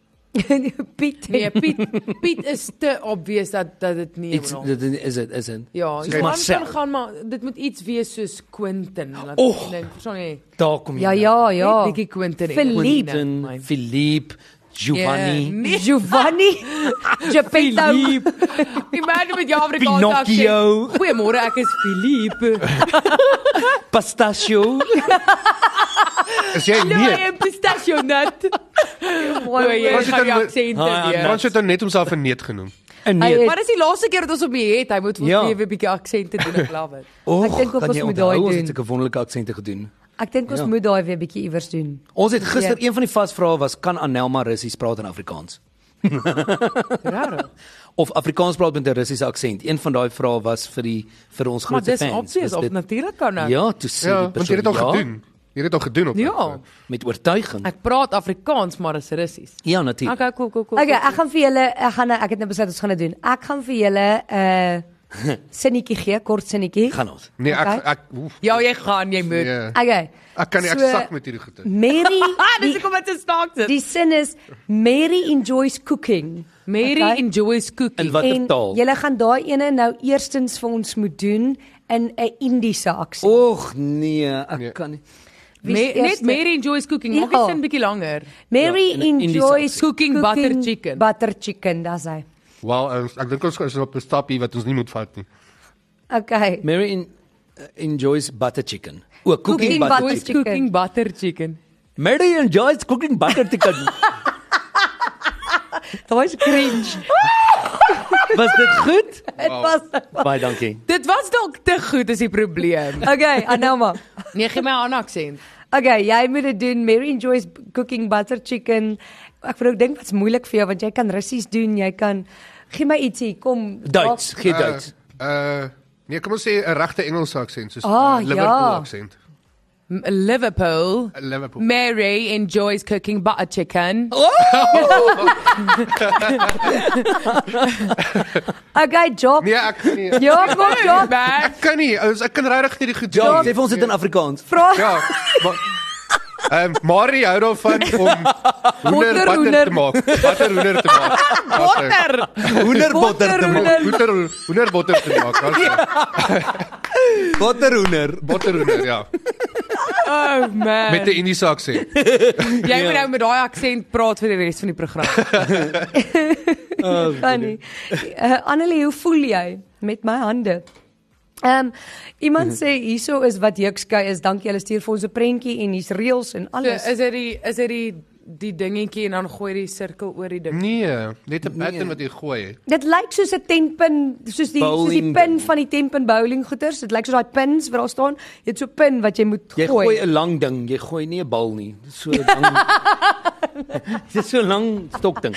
Piet. Nee, Piet Piet is te obvious dat dat dit Ja, nie Iets helemaal- dit is dit is dit. Ja, Soos jy kan Marcel. gaan gaan maar dit moet iets wees soos Quentin. laat Och. ek Dink, verstaan jy? Daar kom jy. Ja, nou. ja, ja. Bietjie Quentin. en Philippe. Quentin, Quentin, my Philippe, Giovanni. Ja, nee. Giovanni Geppetto. Philippe. Imagine met jou Afrikaans Pinocchio. accent. Goeiemôre, ek is Philippe. Pistachio. Is jy Hallo, ek nee? is pistachio nut. Mooi, jy Was dit gaan jou dan- aksent Ah, weer. Ja. Frans het dan net homself verneet genoem. En Hy nee. het- Maar dis die laaste keer dat ons hom hier het. Hy moet vir Ja. ons weer 'n bietjie aksente doen, ek love it. Och, Ek dink ook kan ons jy moet onthou, daai Ons doen. het sulke wonderlike aksente gedoen. Ek dink ons Ja. moet daai weer bietjie iewers doen. Ons het gister een van die vasvrae was kan Anelma Russies praat in Afrikaans? Rarig. Of Afrikaans praat met 'n Russiese aksent. Een van daai vrae was vir die vir ons Maar grootste dis fans. obvious was op dit- natuurlik kan ek. Ja, toe sê Ja, die want jy het dit persoon, al gedoen. Jy het dit al gedoen op. eh, Ja. met oortuiging. Ek praat Afrikaans, maar is Russies. Ja, natuurlik. Okay, cool, cool, cool. Okay, ek gaan vir julle ek gaan ek het net besluit ons gaan dit doen. Ek gaan vir julle 'n uh, sinnetjie gee, kort sinnetjie. Gaan ons. Nee, ek Okay. ek oef, Ja, jy gaan, jy moet. nee. Okay. Ek kan nie ek Ja. So, sak met hierdie goeie. Mary Ah, dis die, hoekom dit so snaaks is. die sin is Mary enjoys cooking. Mary Okay? enjoys cooking. In watter En taal? Julle gaan daai ene nou eerstens vir ons moet doen in 'n Indiese aksie. Och nee, ek nee. kan nie. Wie is Me- net eerste? Mary enjoys cooking. Maak Ja. dit sin bietjie langer. Mary Ja, in 'n Indiese enjoys aksie. Cooking butter chicken. Butter chicken, dis hy. Wel, ons- ek dink ons is op 'n stapie wat ons nie moet vat nie. Okay. Mary en uh, enjoys butter chicken. O, cooking, Cooking cooking butter, butter butter Enjoys chicken. chicken. cooking butter chicken. Mary enjoys cooking butter chicken. Daai is cringe. Was dit goed? Dit was Baie dankie. Dit was dalk te goed is die probleem. Okay, Anelma. Nee, gee my aan aksent. Okay, jy moet dit doen. Mary enjoys cooking butter chicken. Ek wil ook dink wat's moeilik vir jou want jy kan Russies doen, jy kan gee my ietsie, kom. Duits, Eh, gee Duits. Uh nee, kom ons sê 'n regte Engelse aksent soos Ah, eh, Liverpool ja. aksent. M- Liverpool. Eh, Liverpool. Mary enjoys cooking butter chicken. Okay, job. Nee, ek nee. Ja, kom job. Back. Ek kan nie, ons- ek kan regtig nie die goed Ja, doen sê nie. vir ons dit in Afrikaans. Vra Ja. maar- Ehm Marie hou daarvan om hoender Botterhoender. butter te maak. Butter hoender te maak. Butter. Butter. Hoenderbotter te maak. Botterhoender. Hoender Ja. hoender botter te maak. daar's- Botterhoender. Botterhoender, ja. Oh man. Met 'n Indiese aksent. Jy moet nou met daai aksent praat vir die res van die program. kan nie. Uh, Annelie, hoe voel jy met my hande? Ehm um, iemand Mhm. sê hierso is wat Jukskei is. Dankie julle stuur vir ons 'n prentjie en hier's reels en So, alles. is dit die is dit die die dingetjie en dan gooi die sirkel oor die ding. Mm. Nee, net 'n pattern wat jy gooi. Dit lyk soos 'n tenpin, soos die soos die Bowling pin ding. van die tenpin bowling goeters. Dit lyk soos daai pins wat daar staan. Jy het so 'n pin wat jy moet Jy gooi. gooi 'n lang ding, jy gooi nie 'n bal nie. Dis so lang. Dis so lang stokding.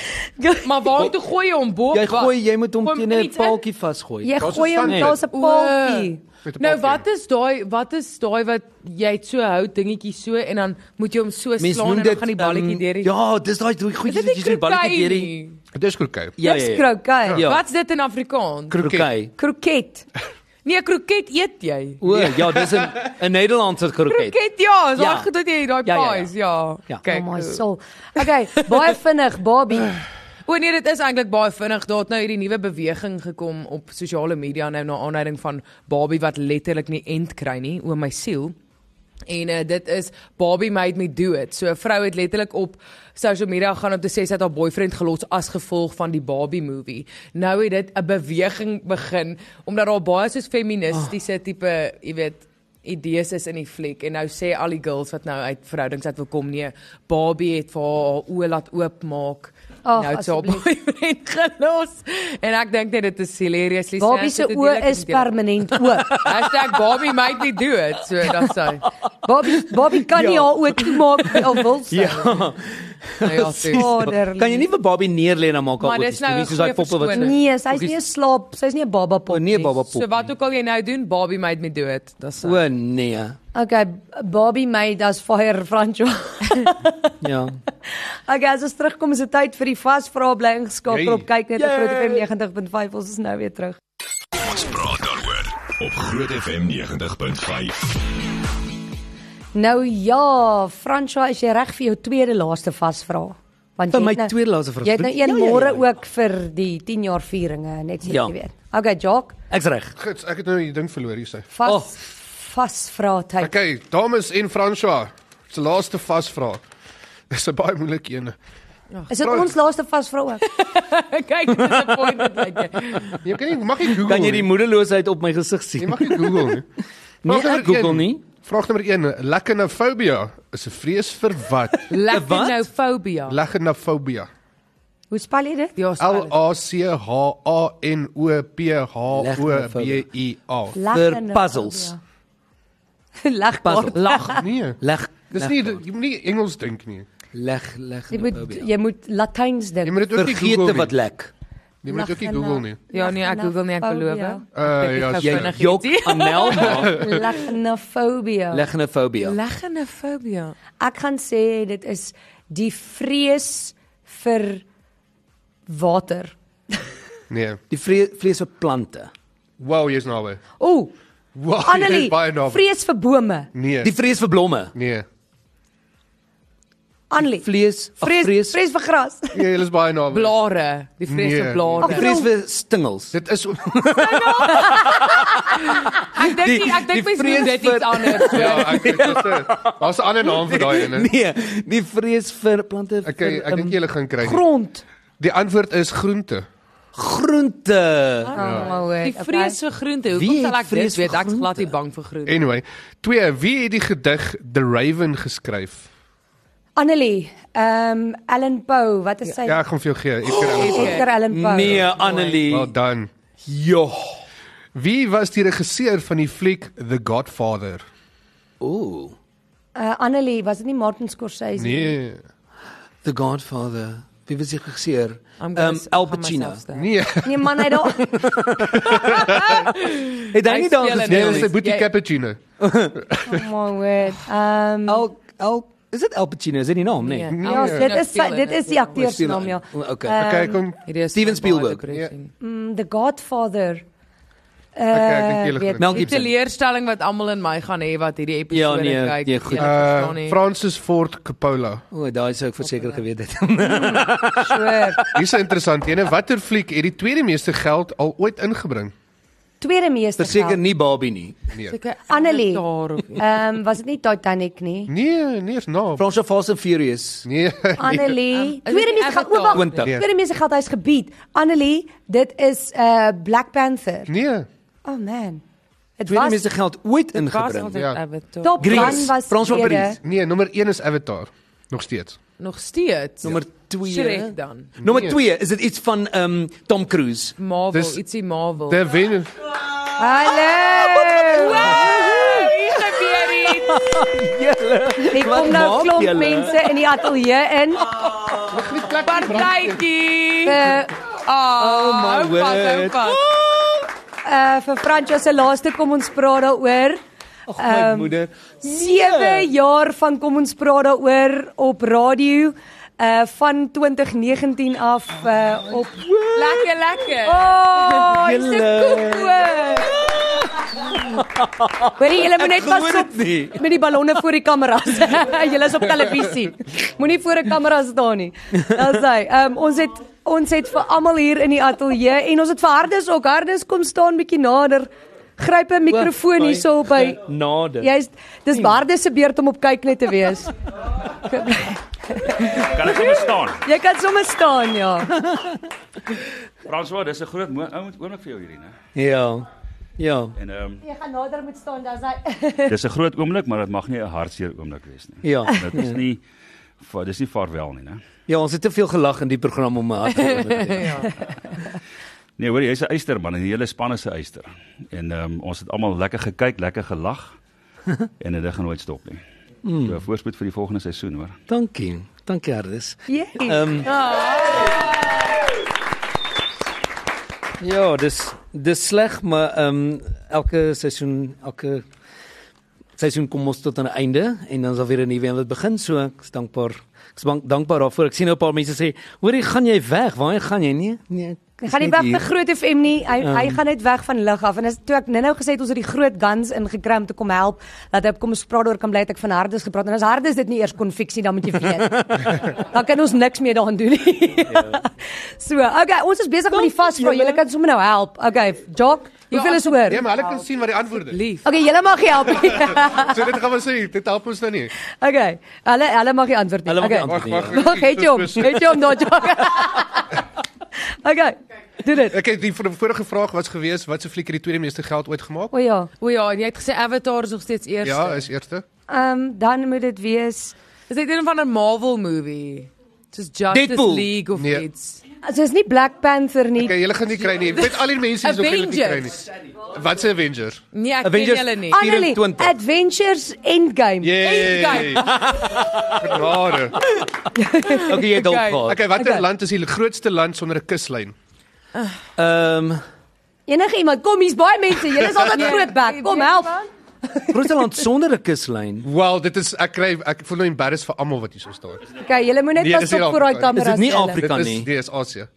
Maar waartoe gooi jy hom bo? Jy gooi, jy moet hom Gooi hom teen in 'n iets in? paaltjie vasgooi. jy daar's 'n gooi hom standbeeld. daar's 'n paaltjie. Met 'n Nou paaltjie. wat is daai wat is daai wat jy het so hout dingetjie so en dan moet jy hom so Mens slaan noem en dan dit gaan die balletjie ehm, deur. die- Ja, dis daai doe Is goedjies dit wat nie jy so die balletjie krokei deur die nie? Dis krokai. Ja, ja, Dis ja. kroket. Ja. Wat's dit in Afrikaans? Krokei. Kroket. Nee, kroket eet jy. O, ja, dis 'n 'n Nederlandse kroket. Kroket ja, is Ja. daai goed wat jy Ja, daai ja, ja. pies, ja. Ja. Kyk. Oh my soul. Okay, baie vinnig, Barbie. O nee, dit is eintlik baie vinnig. Daar het nou hierdie nuwe beweging gekom op sosiale media nou na aanleiding van Barbie wat letterlik nie end kry nie, o my siel. En uh, dit is Barbie made me do it. So 'n vrou het letterlik op social media gaan om te sê sy het haar boyfriend gelos as gevolg van die Barbie movie. Nou het dit 'n beweging begin omdat daar baie soos feministiese Ah. tipe, jy weet, idees is in die fliek en nou sê al die girls wat nou uit verhoudings uit wil kom nee, Barbie het vir haar haar oë laat oopmaak. Ag, nou het sy haar asseblief. boyfriend gelos. En ek dink net dit is hilariously Barbie se oë is permanent oop. #Barbie made me do it. So dan sê. Barbie Barbie kan nie Ja. haar oë toemaak al wil sy. Ja. Nou ja, sê. Vaderlief. Kan jy nie vir Bobby neerlê en dan maak haar Maar oop? dis nou nie een soos daai goeie poppe wat verskoning. Nee, sy's nie 'n slaap, sy's nie 'n baba O pop. nee, baba pop. So wat ook al jy nou doen, Barbie made me do it. Dis O nee. Okay, Barbie made us fire Franco. Ja. Okay, as ons terugkom is dit tyd vir die vasvrae bly ingeskakel Yay. op kyk net op Groot FM 90.5. Ons is nou weer terug. Ons praat daaroor op Groot FM 90.5. Nou ja, Franco, is jy reg vir jou tweede laaste vasvrae? want Vir jy my het nou- tweede laaste vraag. Jy het nou Ja, een ja, ja, môre ja. ook vir die 10 jaar vieringe net so Ja. jy weet. Okay, Jock, Ek's reg. Gits, ek het nou die ding verloor hier sê. vas Oh. vas vra tyd. Okay, dames en François, se laaste vasvraag. Dis 'n baie moeilike een. Is dit vra- ons laaste vas vra ook? Kyk, dit is 'n point wat ek. Nee, Jy kan nie mag nie Google. Kan jy die nie. moedeloosheid op my gesig Jy sien? mag nie Google nie. Nee, Vraag nommer ek Google een. nie. Vraag nommer 1. Lekkenofobia is 'n vrees vir wat? nou Lekkinofobia. Lekkenofobia. Hoe spel jy dit? Ja, L spel dit. A C H A N O P H O B Leggenofobia. I A. Vir puzzles. Ja. Lag Puzzle. puzzles. Lag. Nee. Leg. Dis leg nie kaart. jy moet nie Engels dink nie. leg leg. Jy moet jy moet Latyns Jy dink. moet dit ook nie vergeet Google wat nie. lek. Jy moet dit ook nie Google nie. Ja, nee, ek Google nie, ek Uh beloof. ja, Eh, Jy- sure. Vinnig Jok ietsie. Amel maar Lagnofobia. legnofobia. Lekkinofobia. Ek gaan sê dit is die vrees vir water. nee. Die vre- vlees vir plante. Wow, jy's naby. O, Wow, Annelie, jy's baie naby. vrees vir bome. Die Nee. vrees vir blomme. Nee. Annelie, Vlees, ag, vrees vrees, vrees vir gras. Jy is Nee, baie naby. Blare, die vrees vir Nee. blare. Ag, vrees vir stingels. Dit is Ek dink nie- ek die dink mens vrees noem dit vir- iets anders. ja, ek dit is dit. Daar's 'n ander naam vir daai ene. Nee, die vrees vir ehm, plante. Ek ek dink julle gaan kry. nie. Grond. Die antwoord is groente. groente. Ja. Oh, Die vrees vir groente. Wie Hoekom sal het ek dit vrees vir weet? Ek's glad nie groente? bang vir groente. Anyway, 2. Wie het die gedig The Raven geskryf? Annelie, ehm um, Ellen Poe, wat is sy? Ja, ek gaan vir jou gee. Edgar Allan Poe. Edgar Allan Poe. Nee, Annelie. Well done. Jo. Wie was die regisseur van die fliek The Godfather? Ooh. Uh, Annelie, was dit nie Martin Scorsese Nee. The Godfather. Wie was die regisseur? I'm Ehm gonna um, s- Al gaan Pacino. myself staan. Nee, Nee man, hy daar. Het hy Hy nie daar speel in gespeel Ellis. dis 'n nie? nee, boetie Jy- Ehm, cappuccino. Oh my word. Ehm um, Al Al is dit Al Pacino? Is dit die naam, nee? Nee, ja, Elvis dit is sy, speel in dit dit. is die akteursnaam ja. O, okay. Ehm, Okay, kom. Hierdie is Steven my baie Spielberg. depressie. Mm, The Godfather. Uh, Okay, ek dink julle gaan weet- dit- Mel Die Gibson. teleurstelling wat almal in my gaan hê wat hierdie Ja, episode nee, kyk. nee, goed. Julle Uh, verstaan nie. Francis Ford Coppola. O, daai sou ek verseker geweet het. Sure. Hier's 'n interessante een. Watter fliek het die tweede meeste geld al ooit ingebring? Tweede meeste. Verseker geld. nie Barbie nie. Nee. Seker Annelie. daar of iets. Ehm um, was dit nie Titanic nie? Nee, nee, is nou. Fransjo Fast and Furious. Nee. Annelie, dit tweede nie meeste geld Avatar? oor. Twintig. Tweede meeste geld hy's gebied. Annelie, dit is uh Black Panther. Nee. Oh man. Dit Tweede was meeste geld ooit Was ingebring. altyd ja. Avatar. Top Gun Grease, was Frans van tweede. Parijs. Nee, nommer 1 is Avatar. Nog steeds. Nog steeds. Nommer 2. Shrek dan. Nommer 2 is dit iets van ehm um, Tom Cruise. Marvel, Dis- ietsie Marvel. The Ven Hallo. Wow, hier gebeur iets. Ek kom Wat nou maak klomp julle? mense in die ateljee in. Partytjie. Uh, Ah. Oh my word. uh vir Fransjo se laaste kom ons praat daaroor. Ag my Ehm, um, moeder. 7 jaar van kom ons praat daaroor op radio uh van 2019 af uh op Lekker, lekker. Oh, dis 'n Julle. koekoe. Hoorie, julle moet net Ek pas glo op dit nie. met die ballonne voor die kameras. julle is op televisie. Moenie voor 'n kamera staan nie. Dis hy. Um, ons het ons het vir almal hier in die ateljee en ons het vir Hardus ook. Hardus kom staan bietjie nader. Gryp 'n mikrofoon hierso by Nade. Jy's dis Hardus se beurt om op kyk net te wees. Kan ek sommer staan? Jy kan sommer staan, ja. François, dis 'n groot mo- ou- oomblik vir jou hierdie, né? Ja. Ja. En ehm Jy gaan nader moet staan, dis hy. dis 'n groot oomblik, maar dit mag nie 'n hartseer oomblik wees nie. Ja. Dit is nie va- dis nie vaarwel nie, né? Ja, ons het te veel gelag in die program om my hart. te- Nee, hoor, jy's 'n eysterman en die hele span is 'n eyster. En ehm ons het almal lekker gekyk, lekker gelag en dit gaan nooit stop nie. Mm. So voorspoed vir die volgende seisoen, hoor. Dankie. Dankie Hardus. Jy. Ehm um, Ja, dis dis sleg, maar ehm um, elke seisoen, elke seisoen kom ons tot aan 'n einde en dan is daar weer 'n nuwe een wat begin. So ek is dankbaar. Ek is bank, dankbaar daarvoor. Ek sien nou 'n paar mense sê, "Hoorie, gaan jy weg? Waarheen gaan jy?" Nee, nee. ek Hy is gaan nie net weg hier. Ja. vir Groot FM nie. Hy hy gaan net weg van lig af. En as toe ek nou-nou gesê het ons het die groot guns ingekry om te kom help, dat hy op kom ons praat oor kan bly het ek van hardes gepraat. En as hardes dit nie eers kon fix nie, dan moet jy weet. dan kan ons niks meer daaraan doen nie. Ja. so, okay, ons is besig met die vasvra. Julle kan sommer nou help. Okay, Jock, hoeveel is oor? Ja, maar hulle kan sien wat die antwoord is. Lief. Okay, julle mag help. So dit gaan ons sê, dit help ons nou nie. okay, hulle hulle mag die antwoord nie. Hulle mag die Okay. antwoord Wag, wag. Wag, het jy hom? Het jy hom daar, Jock? okay. Doen dit. Ek het die vor- vorige vraag was gewees wat se fliek het die tweede meeste geld ooit gemaak? O ja. O ja, en jy het gesê Avatar is nog steeds eers. Ja, is eerste. Ehm dan moet dit wees Is dit een van 'n Marvel movie? Soos Justice Deadpool. League of Nee. iets. So is nie Black Panther nie. Okay, julle gaan nie kry nie. Met al die mense is ook julle nie kry nie. Avengers. Wat se Avengers? Nee, ek Avengers- ken julle nie. Ah, Annelie, 24. Adventures Endgame. Yay. Genade. Okay, jy dalk Okay. gehad. Okay, watter Okay. land is die grootste land sonder 'n kuslyn? Ehm, Enige iemand, kom hier's baie mense. Julle is Nee. altyd groot bek. Kom help. Rusland sonder 'n kuslyn. Wel, dit is ek kry ek voel nou embarrassed vir almal wat hier so staan. Okay, julle moet net Nee, pas dis nie op vir daai Afrika nie. kameras. Is dit nie julle. Afrika? Dit Kan is nie. dit is Asië.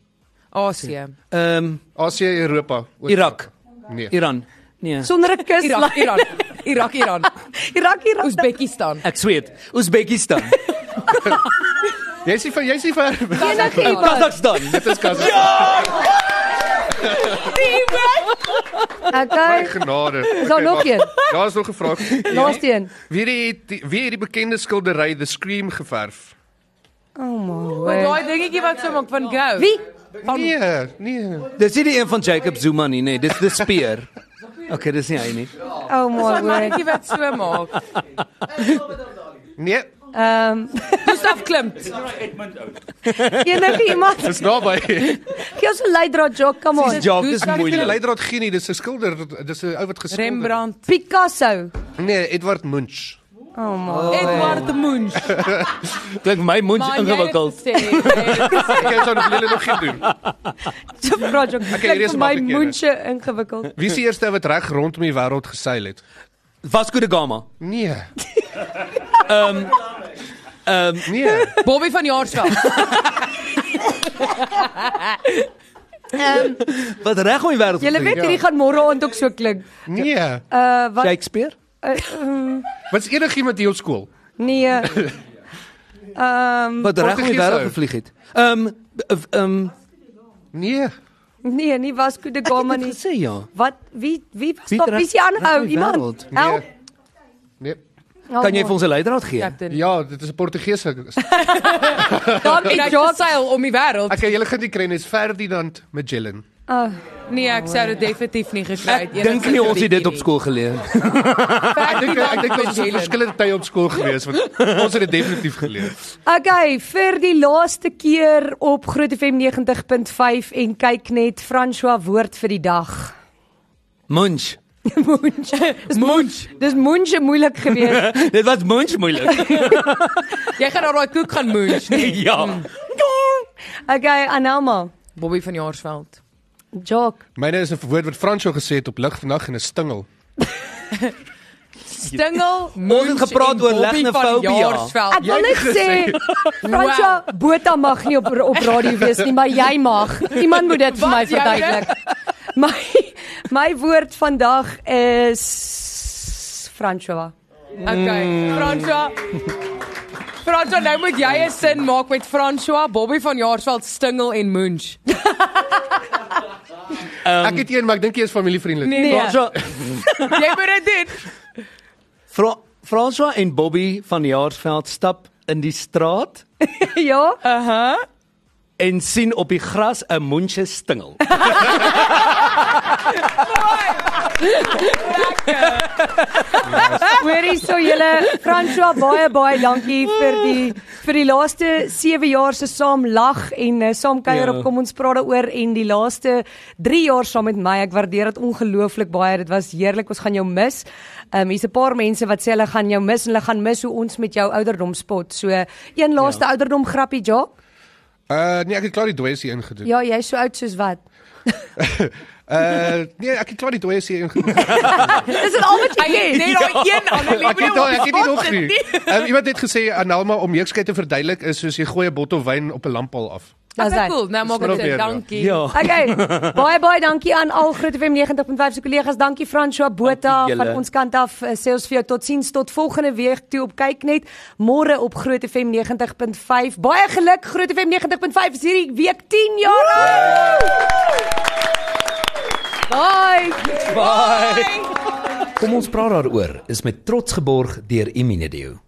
Asië. Ehm, Asië, Europa. Oos- Irak, Nee. Iran. Nee. Sonder 'n kus. Irak, Iran. Irak, Iran. Irak, Irak. Oosbekistan. Ek sweet, Uzbekistan, Jy's nie van jy's nie van Enige iemand. Kazakhstan. Dit is Kazakhstan. Okay. Genade. Is daar nog een? Daar's nog 'n vraag. Laaste een. Wie het die- wie het die bekende skildery The Scream geverf? Oh my Maar word. daai dingetjie wat so maak van go. Wie? Nee, nee. Dis nie die een van Jacob Zuma nie, nee, dis die speer. Okay, dis nie hy nie. Oh my Daai word. mannetjie wat so maak. Nee, Ehm Gustav Klimt. enige iemand. dis naby. Gee ons 'n leidraad joke, come on. Jock dis Dis- Moenie moeilik. leidraad gee nie, dis 'n skilder, dis 'n ou wat geskilder. het. Rembrandt. Picasso. Nee, Edward Munch. Oh my. Edward Munch. Klink my mond Maar jy het ingewikkeld. gesê, nee. Ek het son hulle nog geen doen. So project. hier is Kyk een my maklikie, mondjie ingewikkeld. Wie is die eerste wat reg rondom die wêreld geseil het? Vasco da Gama. Nee. Ehm, Nee. Bobby van Jaarsveld. Ehm, wat reg om die wêreld. Julle weet hierdie gaan môre aand ook so klink. Nee. Uh wat Shakespeare? uh, um, Wat is enigiemand hier op skool? nee. Ehm Wat reg om die Portugees wêreld ou. gevlieg het. Ehm, ehm, ehm, Nee. nee, nie Vasco da Gama ek het nie. dit gesê ja. Wat wie wie was Wie daar trek- wie se aanhou trek die iemand? Oh. wêreld? Help. Nee. help Kan jy vir ons? ons 'n leidraad gee? Captain. Ja, dit is 'n Portugese. Daar Ek met het Jacques. geseil om die wêreld. Ek julle gaan die kry net Ferdinand Magellan. Ah. Nee, ek sou dit definitief nie gekry Ek het. dink nie ons het dit op skool geleer. Ek dink ek dink ons het verskillende tye op skool gewees want ons het dit definitief geleer. Okay, vir die laaste keer op Groot FM 90.5 en kyk net François woord vir die dag. Munch. Munch. Dis Munch. Dis Munch moeilik geweest. Dit was Munch moeilik. Jy gaan nou daai koek gaan munch, nee. ja. Okay, Anelma. Bobby van Jaarsveld. Jock. Myne is 'n woord wat Franso gesê het op lig vandag en 'n stingel. Stingel, munch. Ja. het gepraat en oor Ja. Bobby legnofobia. van Jaarsveld. Ek wil net sê Fransja Botha mag nie op op radio wees nie, maar jy mag. Iemand moet dit vir my Wat, jy verduidelik. My my woord vandag is Fransja. Okay, Mm. Franswa. Franswa, nou moet jy 'n sin maak met Franswa, Bobby van Jaarsveld, Stingel en Munch. Nee. Ek het een maar ek dink jy is familievriendelik. Nee, nee. François jy moet dit doen. Fra François en Bobby van Jaarsveld stap in die straat Ja, en sien op die gras 'n munche stingel. hoorie so julle Fransja baie baie dankie vir die vir die laaste 7 jaar se saam lag en eh, saam kuier Ja. op kom ons praat daaroor en die laaste 3 jaar saam met my. Ek waardeer dit ongelooflik baie. Dit was heerlik. Ons gaan jou mis. Ehm um, hier's 'n paar mense wat sê hulle gaan jou mis en hulle gaan mis hoe ons met jou ouderdom spot. So een laaste ja. ouderdom grappie, Ja. Uh nee, ek het klaar die doesie ingedoen. Ja, jy's so oud soos wat. Uh nee, ek het klaar die doesie ingedoen. Dis dit al wat jy Hy het het. net daai een aan die Ja. Ek het al, ek het nie nog nie. nie. Um, iemand het gesê Analma om jeugskheid te verduidelik is soos jy gooi 'n bottel wyn op 'n lamppaal af. Dis Dis hy. cool. Nou maak ek Probeer, dit. ja. Dankie. Ja. Okay. Baie baie dankie aan al Groot FM 90.5 se kollegas. Dankie François Botha Dankie van julle. ons kant af. Eh, Sê ons vir jou totsiens tot volgende week toe op kyk net môre op Groot FM 90.5. Baie geluk Groot FM 90.5 is hierdie week 10 jaar oud. Bye. Kom ons praat daaroor is met trots geborg deur Imunedio.